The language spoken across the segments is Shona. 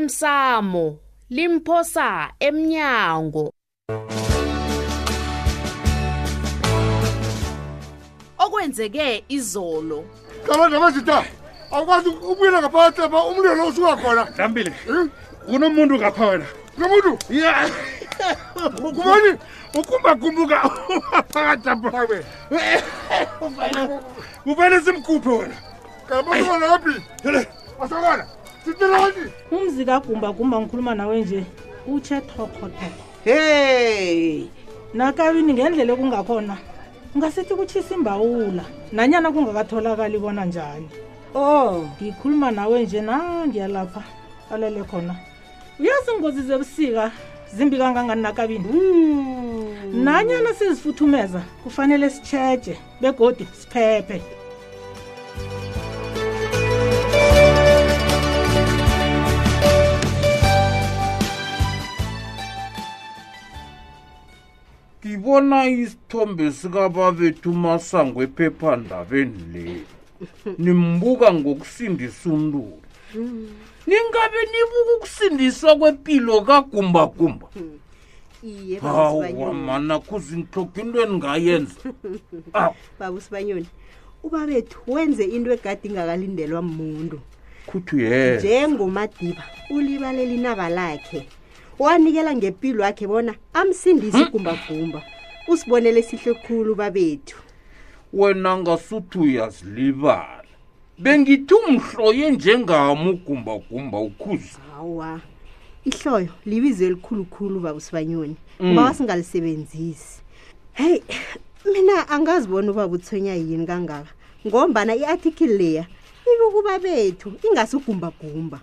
osemsamo limphosa emnyango okwenzeke izolo kaloda mazita awukwazi ubuyela ngaphakathi lapha umlilo lo usuka khona dambile Hmm? kunomuntu ngapha wena nomuntu ya kubani ukumbakumbuka phakathi apha awe kumele simkhuphe wena kalamasokana kaphi masokana sitelawani umzi kagumbagumba ngikhuluma nawe nje utshe thokothoko heyi nakabini ngendlela ekungakhona ungasithi kutshisa imbawula nanyana kungakatholakali bona njani o ngikhuluma nawe nje nangiyalapha alele khona uyazi ingozi zebusika zimbi kangangani nakabini Hmm. nanyana sizifuthumeza kufanele sitshetshe begodi siphephe ngibona isithombe sikababethu masango ephephandabeni le nimbuka ngokusindisa umlulu ningabe nibuka ukusindiswa kwempilo kagumbagumba iye hawa mana kuzintloko into endingayenza aw baba sibanyoni uba bethu wenze into egade ingakalindelwa muntu khuthi uyeza njengomadiba ulibalela inaba lakhe wanikela ngempilo yakhe bona amsindise igumbagumba usibonele sihle khulu babethu wena ngasuthi uyazilibala bengithi umhloye njengam ugumbagumba ukhuzi hawa ihloyo libizo elikhulukhulu babusibanyoni ngoba wasingalisebenzisi heyi mina angazibona uba buthonya yini kangaka ngombana i-athikile leya ibukuba bethu ingasigumbagumba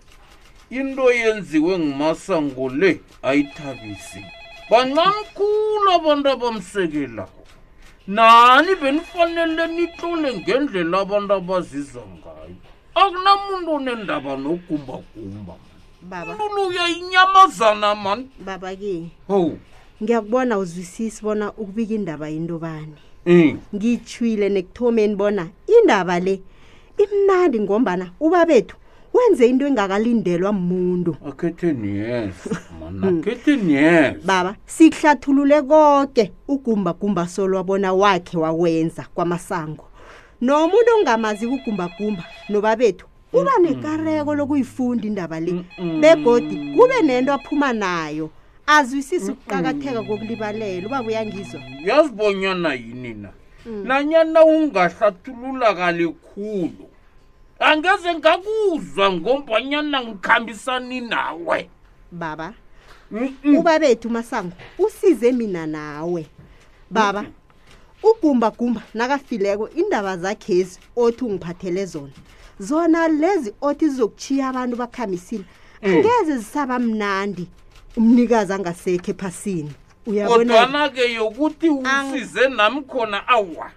into yenziwe ngumasango le ayithabisi bancamkhulu abantu abamsekelayo nani benifanele nitlole ngendlela abantu abaziza ngayo akunamuntu onendaba nogumbagumba baba mntunu uyayinyamazana mani baba-ke howu ngiyakubona uzwisisi bona ukubika indaba yinto bani um ngitshwile nekuthomeni bona indaba le imnandi ngombana uba bethu wenze into engakalindelwa muntu akhethe niyeza mani akhethe niyeza baba sikuhlathulule konke ugumbagumba solwabona wakhe wakwenza kwamasango nomuntu ongamazi ukugumbagumba nobabethu uba nekareko lokuyifunda indaba le begodi kube nento aphuma nayo azwisisi ukuqakatheka kokulibalela uba buyangizwa uyazibonyana yini na nanyana ungahlathulula kalikhulu angeze ngakuzwa ngombanyana ngikhambisani nawe baba Mm-mm. ubabethu masango usize mina nawe baba ugumbagumba nakafileko indaba zakhezi othi ungiphathele zona zona lezi othi zizokuchiya abantu bakhamisile Mm. angeze zisaba mnandi umnikazi angasekho ephasini uyabona kodwana-ke yokuthi Ang- usize nami khona awa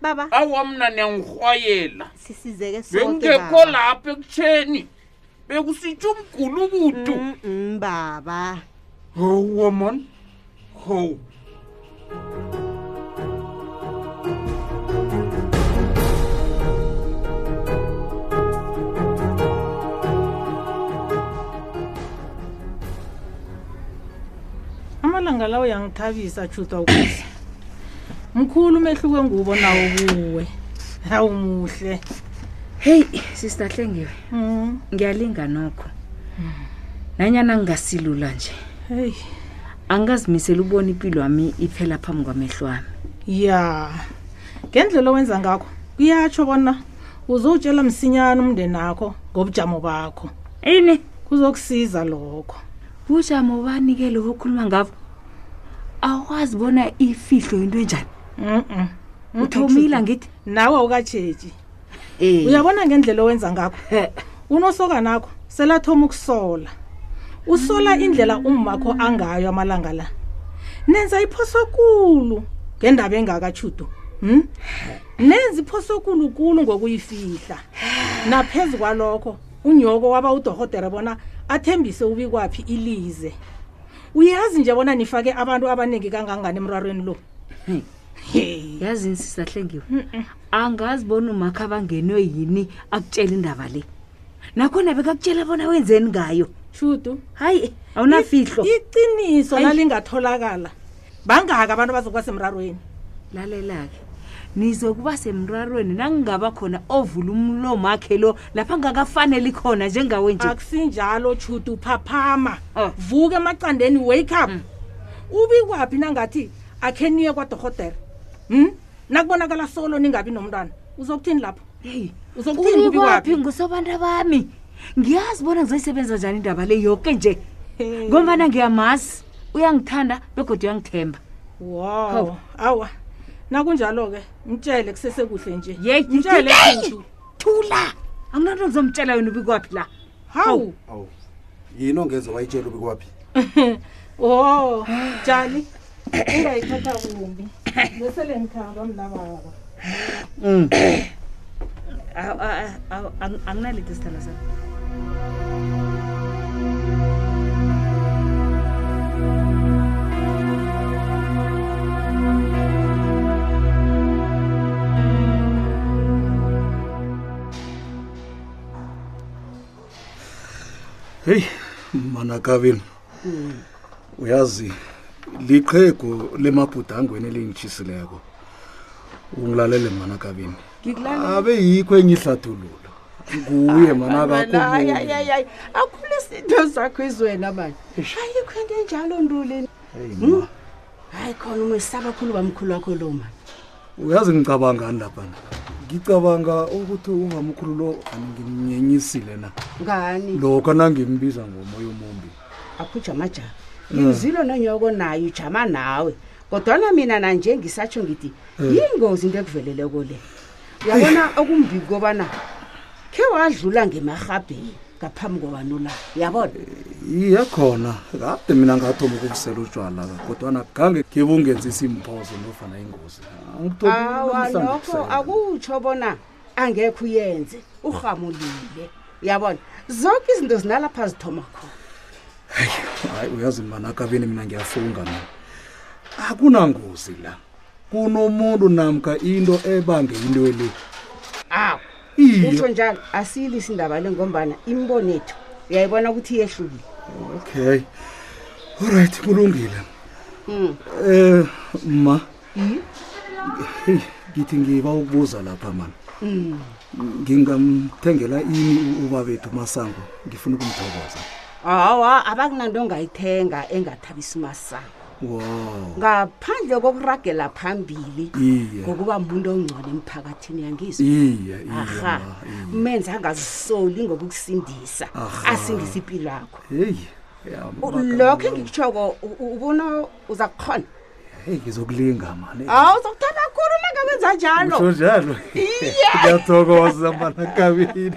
baba awa mna niyangirhwayela sisizeke soke bengekho baba. lapha ekutsheni bekusitsho umgulukutu Mm, baba howa mani howu amalanga lawo uyangithabisa tshutha ukuze mkhulu umehluko engubo nawo kuwe hawu muhle heyi sisitahlengiwe Mm, ngiyalinga nokho nanyana ngingasilula nje heyi angazimisela ubona impilo wami iphela phambi kwamehlo wami ya ngendlela owenza ngakho kuyatsho bona uzowutshela msinyane umndeni akho ngobujamo bakho ini kuzokusiza lokho bujamo banikele okhuluma ngabo awukwazi bona ifihlo into enjani Mm-mm. uthomile ngithi nawe awukatshetshi Eh, uyabona ngendlela owenza ngakho unosokanakho selathoma ukusola usola indlela ummakho angayo amalanga la nenza iphosokulu ngendaba engakatshudu hm nenza iphosokulu kulu ngokuyifihla naphezu kwalokho unyoko waba udohotere bona athembise ubikwaphi ilize uyazi nje bona nifake abantu abaningi kangangani emrarweni lo Hey. Hey. yazini sisahlengiwe angazi bona umakho abangenwe yini akutshela indaba le nakhona bekakutshela bona wenzeni ngayo shudu hayi awunafihlo iqiniso nalingatholakala bangaka abantu abazokuba semrarweni lalela-ke nizokuba semrarweni nakungaba khona ovula umlomo akhe lo lapha ngakafaneli khona njengawe nje akusinjalo shudu phaphama Oh. vuka emacandeni wake up ubi kwaphi nangathi akhe niye kwadorhotere um nakubonakala solo ningabi nomntwana uzokuthini lapho heyi uzokuthini ubi uyikwaphi kwaphi ngusobantu bami ngiyazi bona ngizoyisebenza njani indaba le yoke nje ngombana ngiyamazi uyangithanda begodwa uyangithemba wow awa nakunjalo-ke mtshele kusesekuhle nje Yey, mtshele yey! shudu thula anginanto ngizomtshela yona ubikwaphi la hawu awu yini ongeze wayitshela ube kwaphi o jali Oh, ungayithatha kumbi besele ngikhamba mnababa Awu, awu, awu, ang- anginalito isithanda sami heyi manakabini uyazi liqhegu lemabhudangweni elingitshisileko ungilalele manakabini abe yikho enye ihlathululo nguye manakakumunye hayi akhule isinto sakho izwena manje ayikho into enjalo ntulini hayi khona umesaba khulu bamkhulu wakho lo mani uyazi ngicabangani laphana ngicabanga ukuthi ungamkhulu lo angimnyenyisile na ngani lokho nangimbiza ngomoya omumbi akhujamajaha ngimzilo nonyoko naye ujama nawe kodwana mina nanje ngisatsho ngithi yingozi into ekuveleleko le uyabona okumbi kobana khe wadlula ngemarhabheni ngaphambi kobanula yabona iye khona kade mina ngathoma ukubusela utshwala-ka kodwana gange ngibungenzisa imphozo nofana ingozi Angithobi awa namhlanje nokho kusasa. akutsho bona angekho uyenze urhamulile uyabona zonke izinto zinalapha zithoma khona hayi uyazi manakabeni mina ngiyafunga na akunangozi la kunomuntu namka into ebange into le aw utsho iye njalo asiyilisi indaba le ngombana imibono ethu uyayibona ukuthi iyehlukile okay olright kulungile Mm. um ma Hmm? heyi ngithi ngiba ukubuza lapha mani Hmm. ngingamthengela ini u- ubabethu masango ngifuna ukumthokoza hawa abakunanto ongayithenga engathabisi masango wow ngaphandle kokuragela phambili iye ngokuba muntu ongcono emphakathini yangizwa iye iye aha ma, iye. menza angazisoli ngokukusindisa Aha. asindisa impilo yakho heyi ya, U- maka- lokho engikutshoko u- u- ubona uza kukhona heyi ngizokulinga mani hawu uzokuthatha kakhulu uma ngawenza njalo Usho njalo ngiyathokoza manakabini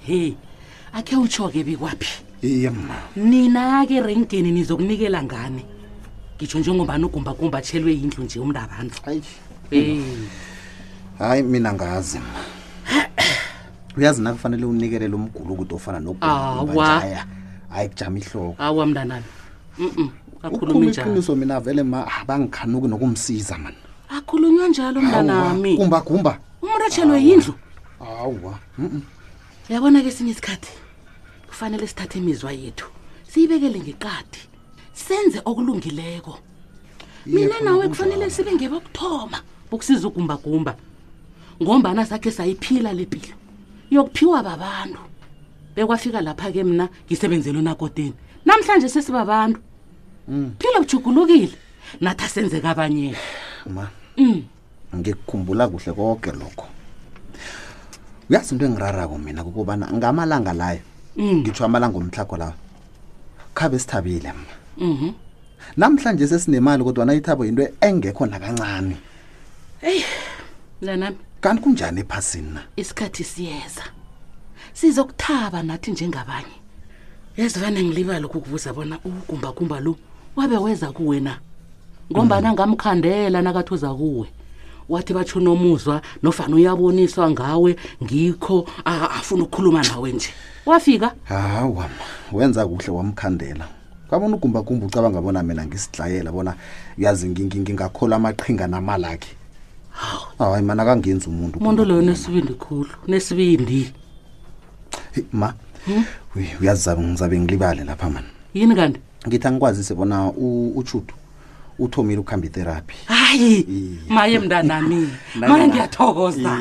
he akhe utsho-ke bikwaphi iye mna nina-ke renkeni nizokunikela ngani ngitsho njengobani ugumbakumba tshelwe yindlu nje umntabantu um hayi mina angazi ma uyazi nakufanele unikelele umgulu ukuthi ofana Awa. nobanjaya hayi kujama ihloko awa mntanami mm akhulumi ukhuluma njalo iqiniso mina vele ma abangikhanuki nokumsiza mani akhulunywa njalo mntanami kumbagumba umuntu atshelwe yindlu awa yabona ke esinye isikhathi kufanele sithathe imizwa yethu siyibekele ngeqadi senze okulungileko mina nawe kufanele sibe ngebokuthoma bokusiza ugumbagumba ngombana sakhe sayiphila le mpilo yokuphiwa babantu bekwafika lapha-ke mna ngisebenzele unakoteni namhlanje sesibabantu Mm. philo bujugulukile nathi Mm. asenze kabanyeni ma ngikukhumbula kuhle konke lokho uyazi into engirarako mina kukubana ngamalanga layo ngitsho amalanga omtlhago lawo khabe sithabile ma namhlanje sesinemali kodwa nayithabo yinto engekho nakancane mnanami kanti kunjani ephasini na isikhathi siyeza sizokuthaba nathi njengabanye yezivane ngilibala ukukubuza bona ugumbagumba lo wabe weza kuwe na ngombana ngamkhandela nakathuza kuwe wathi batsho nomuzwa nofana uyaboniswa ngawe ngikho a- afuna ukukhuluma nawe nje wafika hawa wenza kuhle wamkhandela kwabona ugumbagumba ucabanga bona mina ngisidlayela bona yazi ngi- ngi- ngingakhola amaqhinga namalakhe hayi mana kangenzi umuntu umuntu loyo nesibindi khulu nesibindi Hey, ma uy- uyazi zabe- ngizabe ngilibale lapha mani yini kanti ngithi angikwazise bona u- utshutu uthomile ukuhamba itheraphi Eh, hayi maye mntanami maye ngiyathokoza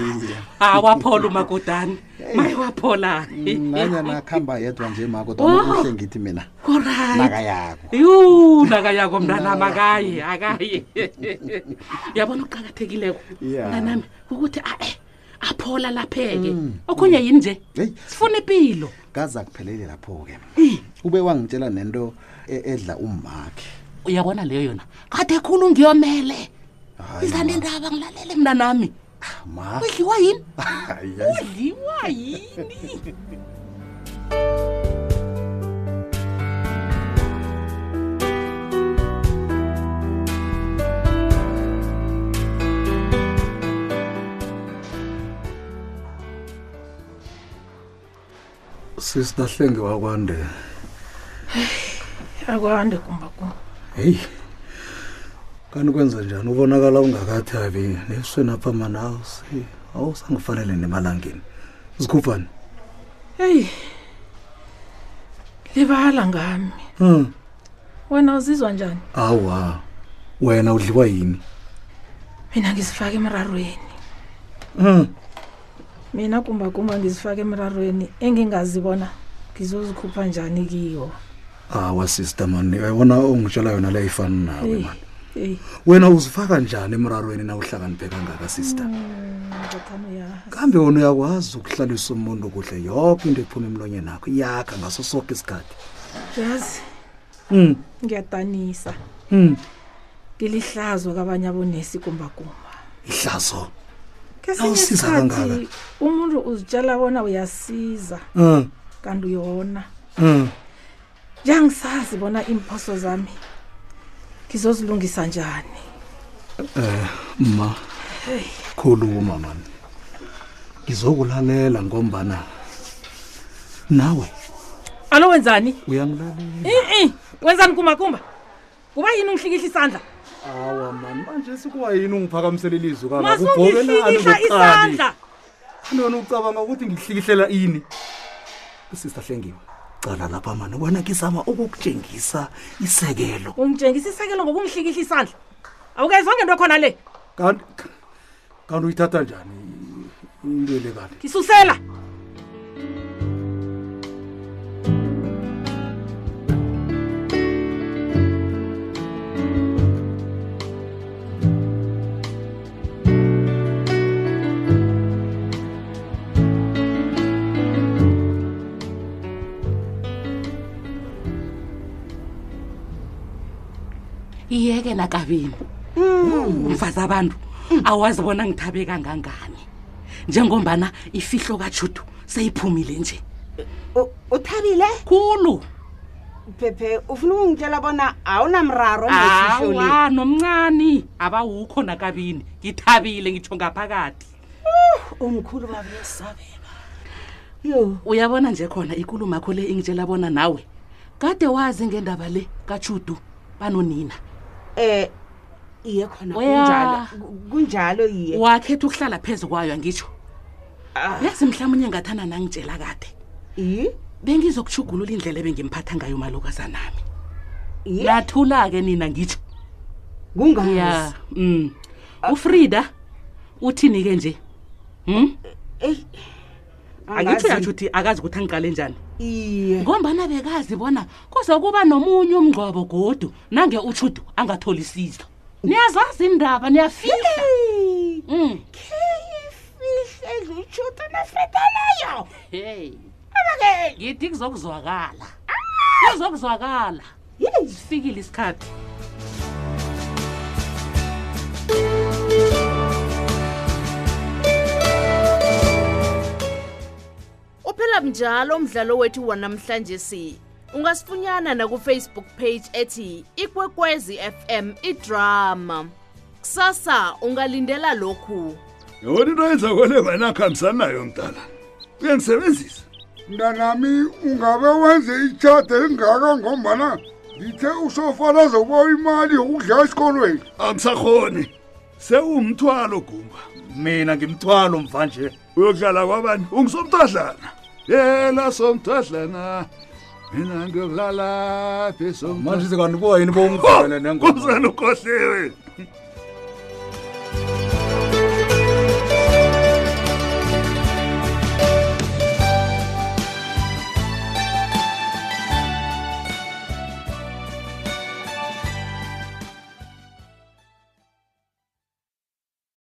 awaphola umakodani maye waphola Mm. eh, nanyana akuhamba yedwa nje ma Wow. kodwa uhle ngithi mina Alright. nakayako yu nakayako mntanami akaye akaye yabona ukuqakathekileko Yeah. mntanami ukuthi ae aphola lapheke okhunye yini nje sifuna impilo kaza kuphelele lapho-ke Eh. ube wangitshela nento e- edla umakhe uyabona leyo yona kade khulu ngiyomele izande ndaba ngilalele mntanami Ah, ma udliwa yini Hayi, hayi. udliwa yini sisitahlenge wakwande akwande gumbagumba heyi kanti kwenza njani ubonakala ungakathabi nebuswenapha mani awusi- awusangifanele nemalangeni zikhuphani heyi libala ngami um wena uzizwa njani awa wena udliwa yini mina ngizifaka emrarweni um mina gumbagumba ngizifaka emrarweni engingazibona ngizozikhupha njani kiwo awa sister mani yabona ongitshela yona leyayifani nawe Eyi, mani eyi. wena uzifaka njani emrarweni na uhlakaniphe kangaka sister Mm, ngiyathanda uyazi. kambe wona uyakwazi ukuhlalisa umuntu kuhle yonke into ephuma emlonyeni akho yakha ngaso soke isikhathi yazi um ngiyadanisa um ngilihlazwa kabanye abonesi gumbagumba ihlazo kesinye Awusiza isikhathi kangaka. umuntu uzitshela bona uyasiza um kanti uyona um njangisazi bona imphoso zami ngizozilungisa njani Eh ma Hey. khuluma mani. Ngizokulalela ngombana nawe alo wenzani uyangilalela. i wenzani kumakumba kuba yini ungihlikihla isandla Awa mani manje sikuwa yini ungiphakamisela ilizwi kangaka masungihlikihla isandla Nona ucabanga ukuthi ngihlikihlela ini? Sister Hlengiwe, cala lapha mani wena ngizama ukukutshengisa isekelo. ungitshengisa isekelo ngokungihlikihla isandla awukezonke into khona le Kanti kanti uyithatha njani? Into le kanti. ngisusela iyeke nakabini Hmm, mfazi abantu awazibona ngithabe kangangani njengombana ifihlo kajudu seyiphumile nje uthabile khulu phephe ufuna ukungitshela bona awunamraro awa nomncane abawukho nakabini ngithabile ngitsho ngaphakathi omkhulu babesabeka yo uyabona nje khona ikulumo akho le ingitshela bona nawe kade wazi ngendaba le kajudu banonina eh iye khona Oya. kunjalo ku- kunjalo iye wakhetha ukuhlala phezu kwayo angitsho yazi mhlawumbe ngathana nangitshela kade bengizokuchugulula indlela ebengimphatha ngayo malokwaza nami nathula-ke nina ngitsho kungazi ya um ufrida uthini-ke nje um angitsho angazi. yatsho uthi akazi ukuthi angiqale njani iye ngombana bekazi bona kuzokuba nomunye umngcwabo godu nange utshudu angatholisisa niyazazi indaba niyafihla um ifihle lutshuto nafredalayo hey ngithi kuzokuzwakala kuzokuzwakala sifikile isikhathi Uphela njalo umdlalo wethu wanamhlanje si. ungasifunyana nakufacebook page ethi ikwekwezi fm idrama kusasa ungalindela lokhu yona into yenza kole wena akuhambisani nayo mntana uyangisebenzisa mntanami ungabe wenze itshade engaka ngombana ngithe usofana azokuba imali yokudlala esikolweni angisakhoni sewumthwalo gumba mina ngimthwalo mvanje uyokudlala kwabani ungisomthadlana yena somthadlana mina ngiyokudlala phi manje sekanti boyini bomvana nengouzana ukhohliwe